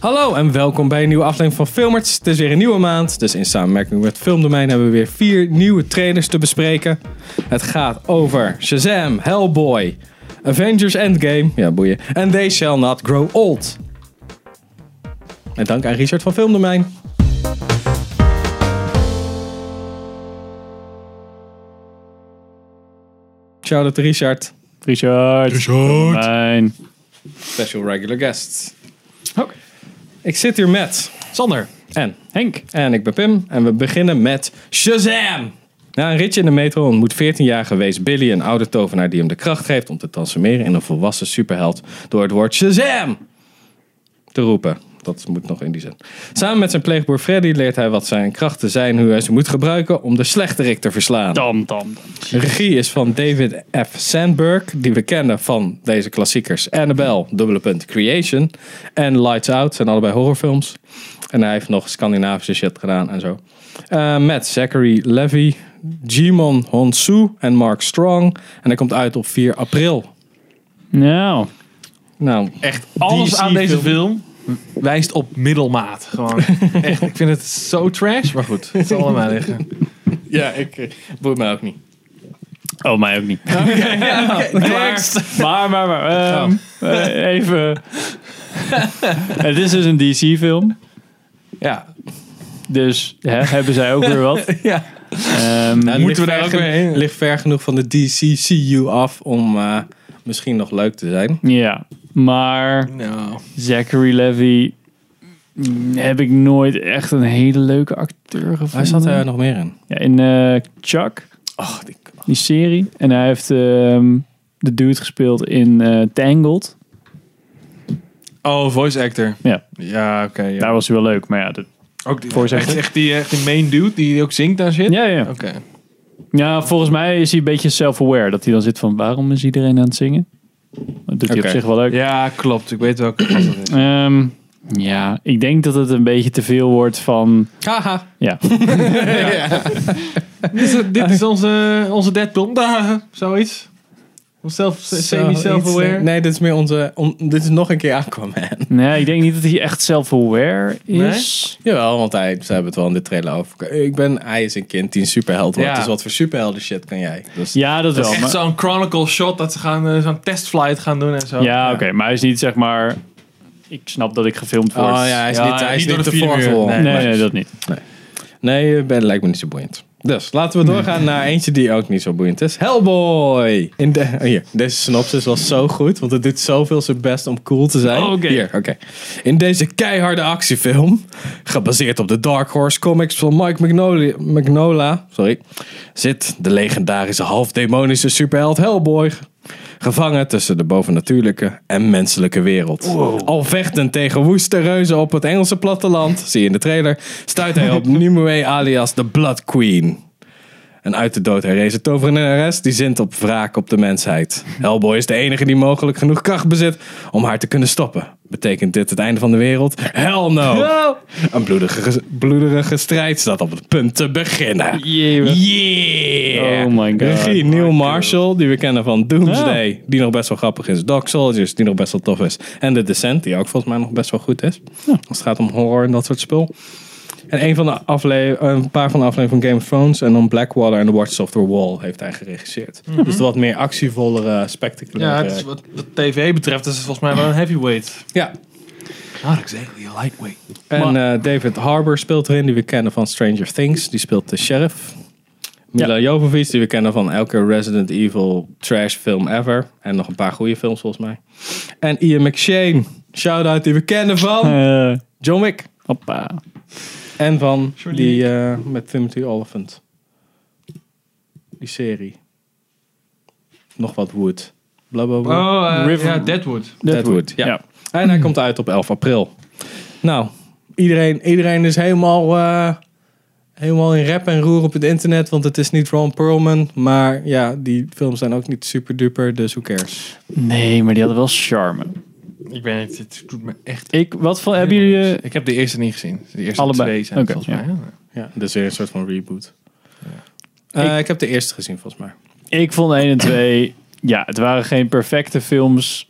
Hallo en welkom bij een nieuwe aflevering van Filmerts. Het is weer een nieuwe maand, dus in samenwerking met Filmdomein hebben we weer vier nieuwe trailers te bespreken. Het gaat over Shazam, Hellboy, Avengers Endgame, ja boeien, en They Shall Not Grow Old. En dank aan Richard van Filmdomein. Shout-out to Richard, Richard. Richard. Mijn. special regular guest. Ik zit hier met Sander. en Henk. En ik ben Pim en we beginnen met Shazam! Na een ritje in de metro ontmoet 14-jarige wees Billy een oude tovenaar die hem de kracht geeft om te transformeren in een volwassen superheld door het woord Shazam te roepen. Dat moet nog in die zin. Samen met zijn pleegbroer Freddy leert hij wat zijn krachten zijn, hoe hij ze moet gebruiken om de slechterik te verslaan. Tam, tam, tam. De regie is van David F. Sandberg, die we kennen van deze klassiekers Annabelle, dubbele punt, Creation en Lights Out, zijn allebei horrorfilms. En hij heeft nog Scandinavische shit gedaan en zo. Eh, met Zachary Levy, Jimon Honsu en Mark Strong. En hij komt uit op 4 april. Nou. Nou, Echt alles DC aan deze film wijst op middelmaat. Gewoon. Echt, ik vind het zo trash, maar goed. Het zal allemaal liggen. ja, ik eh, boeit mij ook niet. Oh, mij ook niet. Next. Maar, maar, maar. ehm, eh, even. Het is dus een DC-film. Ja. Dus hè, hebben zij ook weer wat. Ja. Ehm, Moeten we daar ook weer heen? Nou, Ligt ver genoeg van de DCCU af om eh, misschien nog leuk te zijn. ja. Maar Nou. Zachary Levy mm, heb ik nooit echt een hele leuke acteur gevonden. Waar zat hij er nog meer in? Ja, in eh, Chuck. Oh, die die serie. En hij heeft ehm, de dude gespeeld in eh, Tangled. Oh, voice actor. Ja. Ja, oké. ja. Daar was hij wel leuk, maar ja. dat- ook die, voice echt, actor. echt, die, echt die main dude die ook zingt daar zit? ja, ja. Oké. ja, volgens mij is hij een beetje self-aware. Dat hij dan zit van, waarom is iedereen aan het zingen? Dat doet hij Oké. op zich wel leuk. Ja, klopt. Ik weet welke gast dat is. Ehm, ja, ik denk dat het een beetje te veel wordt van... Haha. Ja, dit is, dit is onze, onze Deadpool. Daar, zoiets. Onszelf, semi-self-aware. eh, Nee, dit is meer onze. on- dit is nog een keer Aquaman. nee, ik denk niet dat hij echt self-aware is. Jawel, want hij, ze hebben het wel in de trailer over. Ik ben, hij is een kind die een superheld wordt. Ja. Dus wat voor superhelden shit kan jij? Dus, Ja, dat wel. Echt maar- zo'n chronicle shot dat ze gaan eh, zo'n testflight gaan doen en zo. ja, oké, maar hij is niet zeg maar... Ik snap dat ik gefilmd word. Oh ja, hij is Ja, niet, hij is niet door niet de te vier voorvol. muur. Nee, nee, nee, dat niet. eh, ben, lijkt me niet zo boeiend. Dus laten we doorgaan naar eentje die ook niet zo boeiend is. Hellboy! In de, oh, hier, deze synopsis was zo goed, want het doet zoveel zijn best om cool te zijn. Oh, oké. Hier, oké. In deze keiharde actiefilm, gebaseerd op de Dark Horse comics van Mike Magnoli- Magnola, sorry, zit de legendarische halfdemonische superheld Hellboy gevangen tussen de bovennatuurlijke en menselijke wereld. Al vechtend tegen woeste reuzen op het Engelse platteland, zie je in de trailer, stuit hij op Nimue alias de Blood Queen. Een uit de dood herrezen tovenares die zint op wraak op de mensheid. Hellboy is de enige die mogelijk genoeg kracht bezit om haar te kunnen stoppen. Betekent dit het einde van de wereld? Hell no! Een bloedige, bloederige strijd staat op het punt te beginnen. Jee, Yeah! Oh my god. Regie Neil Marshall, die we kennen van Doomsday, Ja. die nog best wel grappig is. Dog Soldiers, die nog best wel tof is. En The Descent, die ook volgens mij nog best wel goed is. Als het gaat om horror en dat soort spul. En een, van de afle- een paar van de afleveringen van Game of Thrones en dan Blackwater en The Watch of the Wall heeft hij geregisseerd. Mhm. Dus de wat meer actievollere, spectaculaire. Ja, het is wat de tv betreft is het volgens mij wel een heavyweight. ja. Not exactly a lightweight. En eh, David Harbour speelt erin, die we kennen van Stranger Things. Die speelt de sheriff. Mila Jovovich, die we kennen van elke Resident Evil trash film ever. En nog een paar goede films volgens mij. En Ian McShane, shout-out die we kennen van Eh, John Wick. hoppa. En van Johnny die eh, met Timothy Oliphant. Die serie. Nog wat Wood. Blablabla. Oh, eh, River- ja, Deadwood. Deadwood, ja. En hij komt uit op 11 april. Nou, iedereen, iedereen is helemaal, eh, helemaal in rep en roer op het internet. Want het is niet Ron Perlman. Maar ja, die films zijn ook niet super duper. Dus who cares? Nee, maar die hadden wel charme. Ik weet niet, het doet me echt... Ik, wat voor, hebben jullie... eh, Ik heb de eerste niet gezien. De eerste Allebei. twee zijn het Oké, volgens mij. Ja, dus weer een soort van reboot. Eh, ik, heb de eerste gezien volgens mij. ik vond 1 en 2... Ja, het waren geen perfecte films.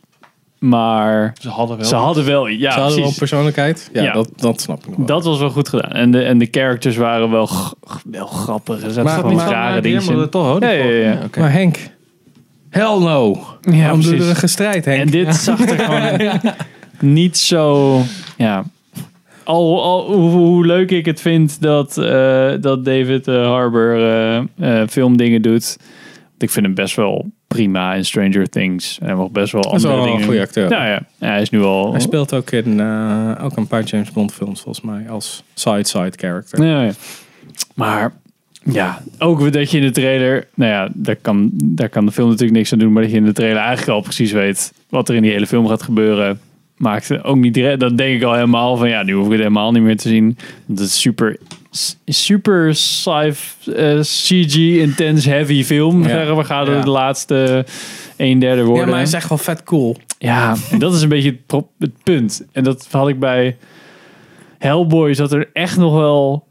Maar Ze hadden wel. ze hadden wel... Ja, Ze hadden wel een precies. persoonlijkheid. Ja, Ja. Dat, dat snap ik nog wel. Dat was wel goed gedaan. En de, en de characters waren wel, g- g- wel grappig. Er zaten Maar- gewoon maar- rare dingen dingen. in. toch hoor. Ja, ja, ja. Ja, oké. Maar Henk, hell no. Ja, Waarom doen we precies. er een gestrijd, Henk? En dit zag er gewoon niet zo. Ja. Al, al hoe, hoe leuk ik het vind dat, eh, dat David eh, Harbour eh, eh, filmdingen doet. Ik vind hem best wel prima in Stranger Things. En hij mag best wel is wel andere een dingen goede doen. acteur. Nou ja, ja, hij is nu al. Hij speelt ook in eh, ook een paar James Bond films, volgens mij, als side-side character. Ja, ja. Maar ja, ook weer dat je in de trailer. Nou ja, daar kan, daar kan de film natuurlijk niks aan doen. Maar dat je in de trailer eigenlijk al precies weet wat er in die hele film gaat gebeuren. Maakt het ook niet direct. Dan denk ik al helemaal van ja, nu hoef ik het helemaal niet meer te zien. Dat is super, s- super sci eh, CG intense heavy film. Ja. Zeggen we gaan Ja. de laatste een derde worden. Ja, maar hij is echt wel vet cool. Ja, en dat is een beetje het, pro- het punt. En dat had ik bij Hellboy, dat er echt nog wel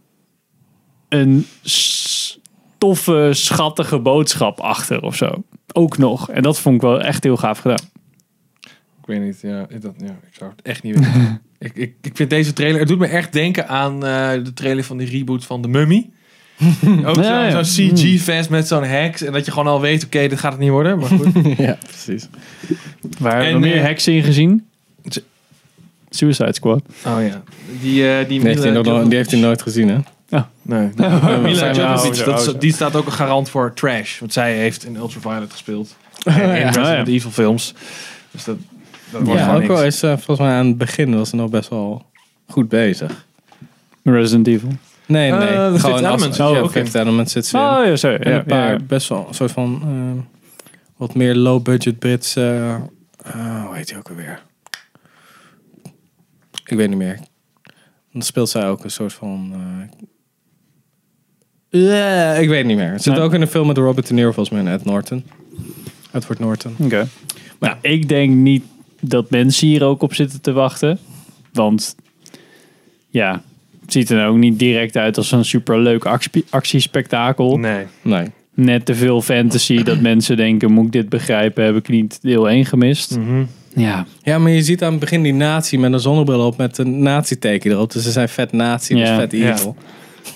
een s- toffe, schattige boodschap achter of zo. Ook nog. En dat vond ik wel echt heel gaaf gedaan. Ik weet niet. Ja, ik- dat, ja, ik zou het echt niet weten. ik, ik, ik vind deze trailer. Het doet me echt denken aan eh, de trailer van die reboot van The Mummy. Ook zo'n Ja, ja. zo'n CG-fest met zo'n heks. En dat je gewoon al weet, oké, dit gaat het niet worden. Maar goed. Oh, ja, precies. Waar hebben En, we meer eh, heksen in gezien? ze- Suicide Squad. Oh ja. Die, eh die Die heeft, hij Mila nog- Jovovich- die heeft hij nooit gezien, hè? Nee. Mila Oh, Jovovich, zo, dat is- oh, zo. die staat ook een garant voor trash. Want zij heeft in Ultraviolet gespeeld. En in Oh, ja. Resident Evil films. Dus dat, dat Ja, wordt gewoon ook niks. wel is eh, volgens mij aan het begin was hij nog best wel goed bezig. Resident Evil. Nee, Eh, nee. de gewoon Fifth als- Element. Ja, Oh, de oké. Fifth Element zit ze in. Oh ja, zo. Ja, En een paar ja. best wel een soort van eh, wat meer low-budget Brits. eh, eh, hoe heet hij ook alweer? Ik weet niet meer. Dan speelt zij ook een soort van. eh, eh, ik weet niet meer. Het zit Nee. ook in een film met Robert De Niro volgens mij en Ed Norton. Edward Norton. Oké. Nou, ik denk niet dat mensen hier ook op zitten te wachten. Want ja, het ziet er nou ook niet direct uit als een superleuk actie, actiespektakel. Nee. Nee. Net te veel fantasy dat mensen denken, moet ik dit begrijpen? Heb ik niet deel 1 gemist? Mhm. Ja. Ja, maar je ziet aan het begin die nazi met een zonnebril op met een nazi-teken erop. Dus ze zijn vet nazi, dus Ja. vet Ja. evil.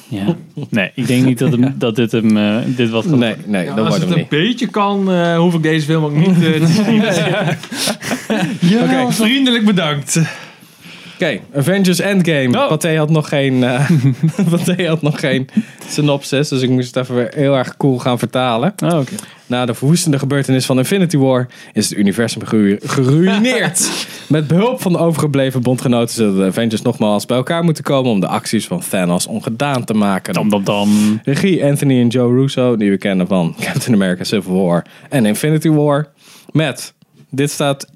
ja. Nee, ik denk niet dat, hem, dat dit hem eh, dit wat gaat Nee, nee, Ja, dat als wordt het hem een niet. beetje kan, eh, hoef ik deze film ook niet eh, te zien. Ja, Oké, vriendelijk bedankt. Oké, Avengers Endgame. Oh. Pathé had nog geen, eh Pathé had nog geen synopsis, dus ik moest het even weer heel erg cool gaan vertalen. Oh, oké. Na de verwoestende gebeurtenis van Infinity War is het universum geru- geruineerd. Met behulp van de overgebleven bondgenoten zullen de Avengers nogmaals bij elkaar moeten komen om de acties van Thanos ongedaan te maken. Dam, dam, dam. Regie Anthony en Joe Russo, die we kennen van Captain America Civil War en Infinity War. Met, dit staat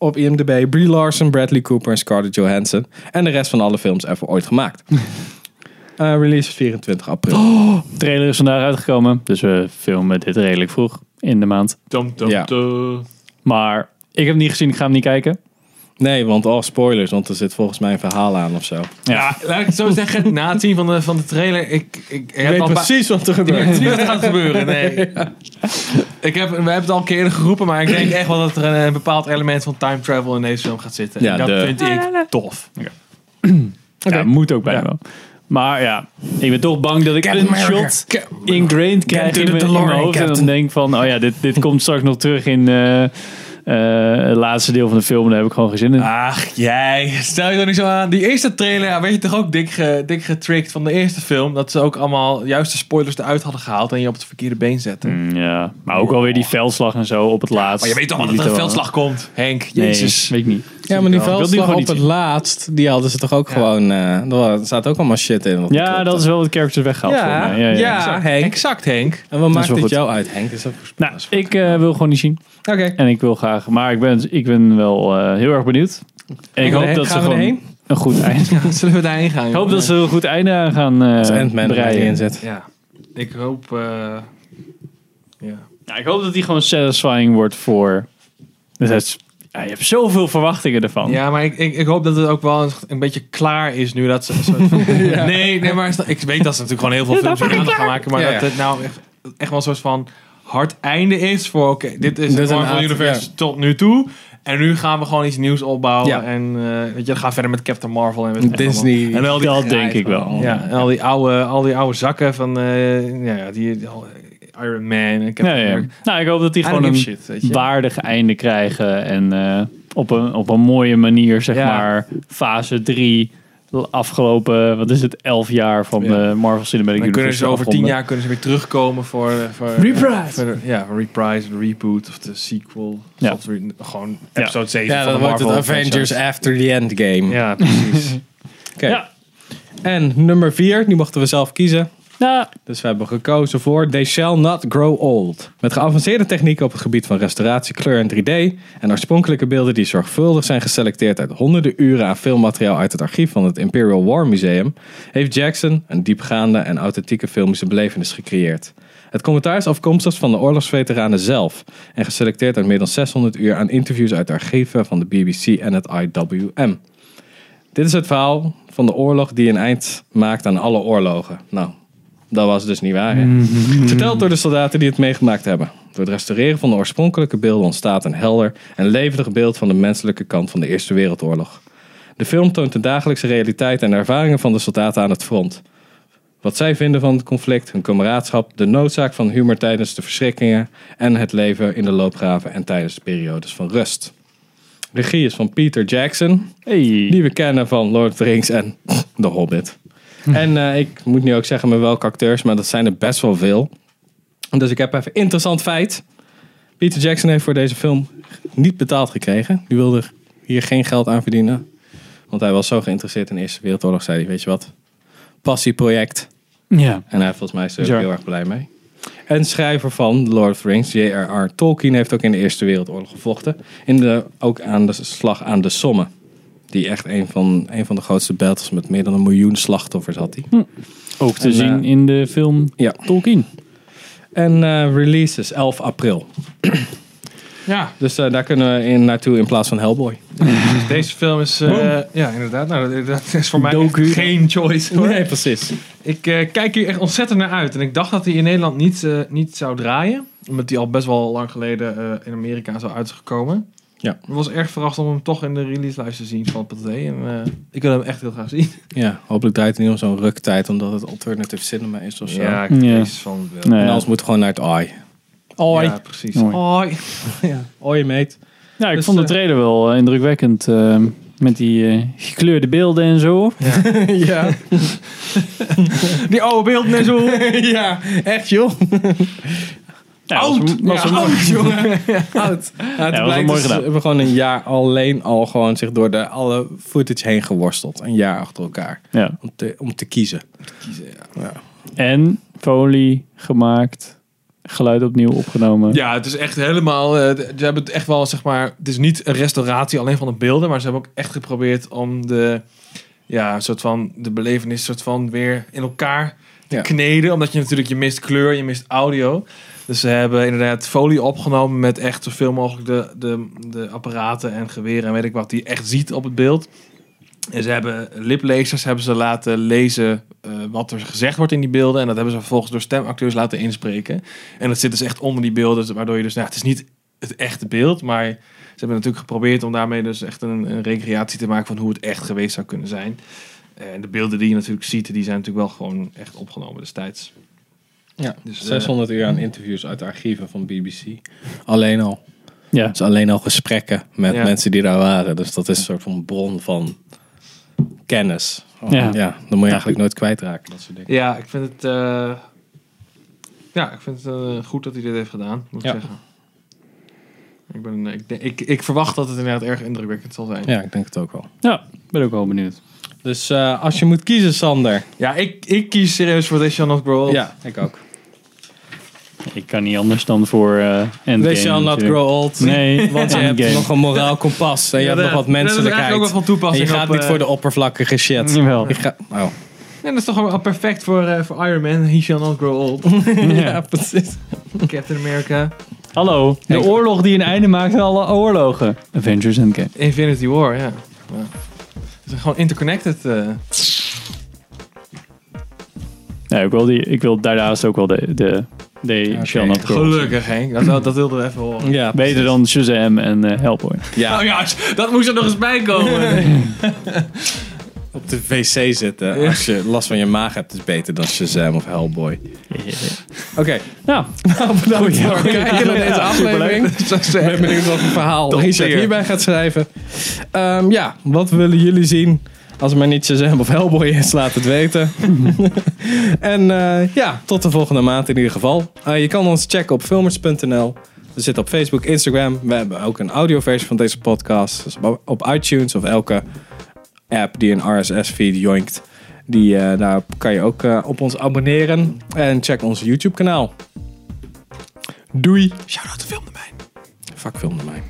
op IMDb, Brie Larson, Bradley Cooper en Scarlett Johansson. En de rest van alle films ever ooit gemaakt. Eh, release 24 april. Trailer is vandaag uitgekomen, dus we filmen dit redelijk vroeg in de maand. Dum, dum, Ja. dum. Maar ik heb hem niet gezien, ik ga hem niet kijken. Nee, want al spoilers, want er zit volgens mij een verhaal aan of zo. Ja, laat ik het zo zeggen. Na het zien van de, van de trailer, ik, ik, Ik ik heb weet al een paar- precies wat er Ik weet gebeurt. niet wat er gaat gebeuren, nee. Ik heb, we hebben het al een keer eerder geroepen, maar ik denk echt wel dat er een, een bepaald element van time travel in deze film gaat zitten. Ja, En dat de- vind ik tof. Ja, moet ook bijna Ja. wel. Maar ja, ik ben toch bang dat ik een shot ingrained krijg to in the mijn, in mijn DeLorean, hoofd. En dan Captain. denk van, oh ja, dit, dit komt straks nog terug in eh, eh, het laatste deel van de film. Daar heb ik gewoon geen zin in. Ach, jij. Stel je toch niet zo aan. Die eerste trailer ja, werd je toch ook dik, ge- dik getrickt van de eerste film. Dat ze ook allemaal juiste spoilers eruit hadden gehaald en je op het verkeerde been zetten. Mm, Ja, maar ook alweer die veldslag en zo op het laatst. Maar je weet toch wel Die dat er een lieten wel- veldslag komt, Henk. Nee, Jezus. weet ik niet. Ja, maar die Ik die wil veldslag op gewoon niet het zien. laatst, die hadden ze toch ook gewoon... eh er zaten ook allemaal shit in. wat Ja, betreft dat is wel wat characters weggehaald. Ja, volgens mij. ja, ja. ja, Henk. Exact, Henk. En wat is maakt wel dit goed. jou uit, Henk? Is dat... Nou, ik eh, wil gewoon niet zien. Oké. En ik wil graag, maar ik ben, ik ben wel eh, heel erg benieuwd. En ik Gaan we hoop erheen? dat ze Gaan we gewoon erheen? een goed eind. Zullen we daarheen gaan? Ik hoop dat ze een goed einde aan gaan Als eh Ant-Man er breien. in zit. Ja, ik hoop... eh, ja. Ja, Nou, ik hoop dat die gewoon satisfying wordt voor. Dus het is- ja, je hebt zoveel verwachtingen ervan. Ja, maar ik, ik, ik hoop dat het ook wel een, een beetje klaar is nu. Dat ze, een soort van- nee, nee, maar ik weet dat ze natuurlijk gewoon heel veel films in gaan maken. Maar Ja, dat ja. het nou echt, echt wel een soort van hard einde is voor... Oké, dit Dit is is het een Marvel aard- Universe ja. tot nu toe. En nu gaan we gewoon iets nieuws opbouwen. Ja. En eh, weet je, we gaan verder met Captain Marvel en met Disney. En al die, Dat denk ik wel. ja, en al die oude, al die oude zakken van eh, ja, die, die al- Iron Man en Captain Ja, ja. America. Nou, ik hoop dat die I gewoon don't een give shit, weet je. waardig einde krijgen. En eh, op, een, op een mooie manier, zeg Ja. maar, fase 3 afgelopen, wat is het, 11 jaar van Ja. eh, Marvel Cinematic Dan Universe. kunnen ze over tien afronden. jaar kunnen ze weer terugkomen voor... eh, voor Reprise! voor de- ja, voor reprise, de reboot of de sequel. Ja. Of re- gewoon Ja. episode 7 Ja, van dan de wordt het Marvel Avengers franchise. After the Endgame. Ja, precies. Oké. Ja, En nummer 4, die mochten we zelf kiezen. nou, Dus we hebben gekozen voor They Shall Not Grow Old. Met geavanceerde technieken op het gebied van restauratie, kleur en 3D. En oorspronkelijke beelden die zorgvuldig zijn geselecteerd uit honderden uren aan filmmateriaal uit het archief van het Imperial War Museum. Heeft Jackson een diepgaande en authentieke filmische belevenis gecreëerd. Het commentaar is afkomstig van de oorlogsveteranen zelf. En geselecteerd uit meer dan 600 uur aan interviews uit de archieven van de BBC en het IWM. Dit is het verhaal van de oorlog die een eind maakt aan alle oorlogen. Nou, dat was dus niet waar. Hè? Verteld door de soldaten die het meegemaakt hebben. Door het restaureren van de oorspronkelijke beelden ontstaat een helder en levendig beeld van de menselijke kant van de Eerste Wereldoorlog. De film toont de dagelijkse realiteit en ervaringen van de soldaten aan het front. Wat zij vinden van het conflict, hun kameraadschap, de noodzaak van humor tijdens de verschrikkingen en het leven in de loopgraven en tijdens de periodes van rust. Regie is van Peter Jackson, hey. die we kennen van Lord of the Rings en The Hobbit. En eh, ik moet nu ook zeggen met welke acteurs, maar dat zijn er best wel veel. Dus ik heb even interessant feit. Peter Jackson heeft voor deze film niet betaald gekregen. Die wilde hier geen geld aan verdienen. Want hij was zo geïnteresseerd in de Eerste Wereldoorlog, zei hij, weet je wat? Passieproject. Ja. En hij volgens mij is er ook Ja. heel erg blij mee. En schrijver van Lord of the Rings, J.R.R. Tolkien, heeft ook in de Eerste Wereldoorlog gevochten. In de, ook aan de slag aan de Somme. Die echt een van, een van de grootste battles met meer dan een miljoen slachtoffers had hij. Ook te En, zien eh, in de film Ja. Tolkien. En eh, release is 11 april. ja, Dus eh, daar kunnen we in naartoe in plaats van Hellboy. dus deze film is... eh, ja, inderdaad. Nou, dat, dat is voor mij echt Doku. geen choice. Hoor. Nee, precies. Ik eh, kijk hier echt ontzettend naar uit. En ik dacht dat hij in Nederland niet, eh, niet zou draaien. Omdat hij al best wel lang geleden eh, in Amerika zou uitgekomen. Ja. Ik was erg verrast om hem toch in de release-lijst te zien van Pathé. En eh, ik wil hem echt heel graag zien. Ja, hopelijk draait het niet om zo'n ruktijd, omdat het alternative cinema is of zo. ik Ja. vrees van wel. En Nou, ja. anders moeten we gewoon naar het AI. Ja, precies. Hoi. Hoi. Ja. Oi, mate. Ja, ik Dus, vond de eh, trailer wel eh, indrukwekkend. eh, met die eh, gekleurde beelden en zo. ja. Die oude beeldnezzel. ja, echt joh. Ja, was- Oud. was Ja, een- oud, jongen. Oud. Nou, was het wel blijkt mooi dus, gedaan. ze hebben gewoon een jaar alleen al gewoon zich door de alle footage heen geworsteld. Een jaar achter elkaar. ja. Om te, om te kiezen. En folie gemaakt. Geluid opnieuw opgenomen. Ja, het is echt helemaal. eh, d- ze hebben het echt wel, zeg maar. Het is niet een restauratie alleen van de beelden, maar ze hebben ook echt geprobeerd om de. Ja, een soort van de belevenis, soort van weer in elkaar te Ja. kneden. Omdat je natuurlijk, je mist kleur, je mist audio. Dus ze hebben inderdaad folie opgenomen met echt zoveel mogelijk de, de, de apparaten en geweren en weet ik wat, die je echt ziet op het beeld. En ze hebben liplezers hebben ze laten lezen eh, wat er gezegd wordt in die beelden. En dat hebben ze vervolgens door stemacteurs laten inspreken. En dat zit dus echt onder die beelden, waardoor je dus, nou, het is niet het echte beeld, maar ze hebben natuurlijk geprobeerd om daarmee dus echt een, een recreatie te maken van hoe het echt geweest zou kunnen zijn. En de beelden die je natuurlijk ziet, die zijn natuurlijk wel gewoon echt opgenomen destijds. Ja, Dus, eh, 600 uur aan interviews uit de archieven van BBC. Alleen al. Ja. Dus alleen al gesprekken met Ja. mensen die daar waren. Dus dat is een soort van bron van kennis. Oh, Ja. ja. dan moet je eigenlijk nooit kwijtraken. Dat soort dingen. Ja, ik vind het, eh, ja, ik vind het eh, goed dat hij dit heeft gedaan, moet ik Ja. zeggen. Ik, ben, eh, ik, denk- ik, ik verwacht dat het inderdaad erg indrukwekkend zal zijn. Ja, ik denk het ook wel. ja, ben ook wel benieuwd. Dus eh, als je moet kiezen, Sander. Ja, ik, ik kies serieus voor This Shall Not Grow Old. Ja, ik ook. Ik kan niet anders dan voor eh Endgame. They shall not natuurlijk. grow old. Nee, Want je hebt Endgame. nog een moraal kompas. En je hebt nog wat Dat is menselijkheid. eigenlijk ook wel van En toepassing. je gaat op, niet eh, voor de oppervlakkige shit. Jawel. Je gaat- oh. Nee, dat is toch wel perfect voor, eh, voor Iron Man. He shall not grow old. ja, precies. Captain America. Hallo, de oorlog die een einde maakt aan alle oorlogen. Avengers Endgame. Infinity War, ja. ja. Ze zijn gewoon interconnected. eh. Nee, ik, wil die, ik wil daarnaast ook wel de, de They Oké. shall not cross. Gelukkig, Henk. Dat, dat, dat wilden we even horen. Ja, Beter dan Shazam en eh, Hellboy. Ja, Oh ja, dat moest er nog eens bij komen. op de wc zitten. Als je last van je maag hebt, is beter dan Shazam of Hellboy. Oké, Nou, Oh, bedankt voor het kijken naar Ja, deze aflevering. Superleuk. Zo Ik zeggen. ben benieuwd wat voor verhaal Tot Richard zeer. hierbij gaat schrijven. Ehm, ja, wat willen jullie zien? Als het maar niet Shazam of Hellboy is, laat het weten. en eh, ja, tot de volgende maand in ieder geval. Eh, je kan ons checken op filmers.nl. We zitten op Facebook, Instagram. We hebben ook een audioversie van deze podcast. Dus op- op iTunes of elke app die een RSS-feed joinkt. Die, eh, daar kan je ook eh, op ons abonneren. En check ons YouTube-kanaal. Doei. Shout-out de filmdomein. Fuck, filmde mij.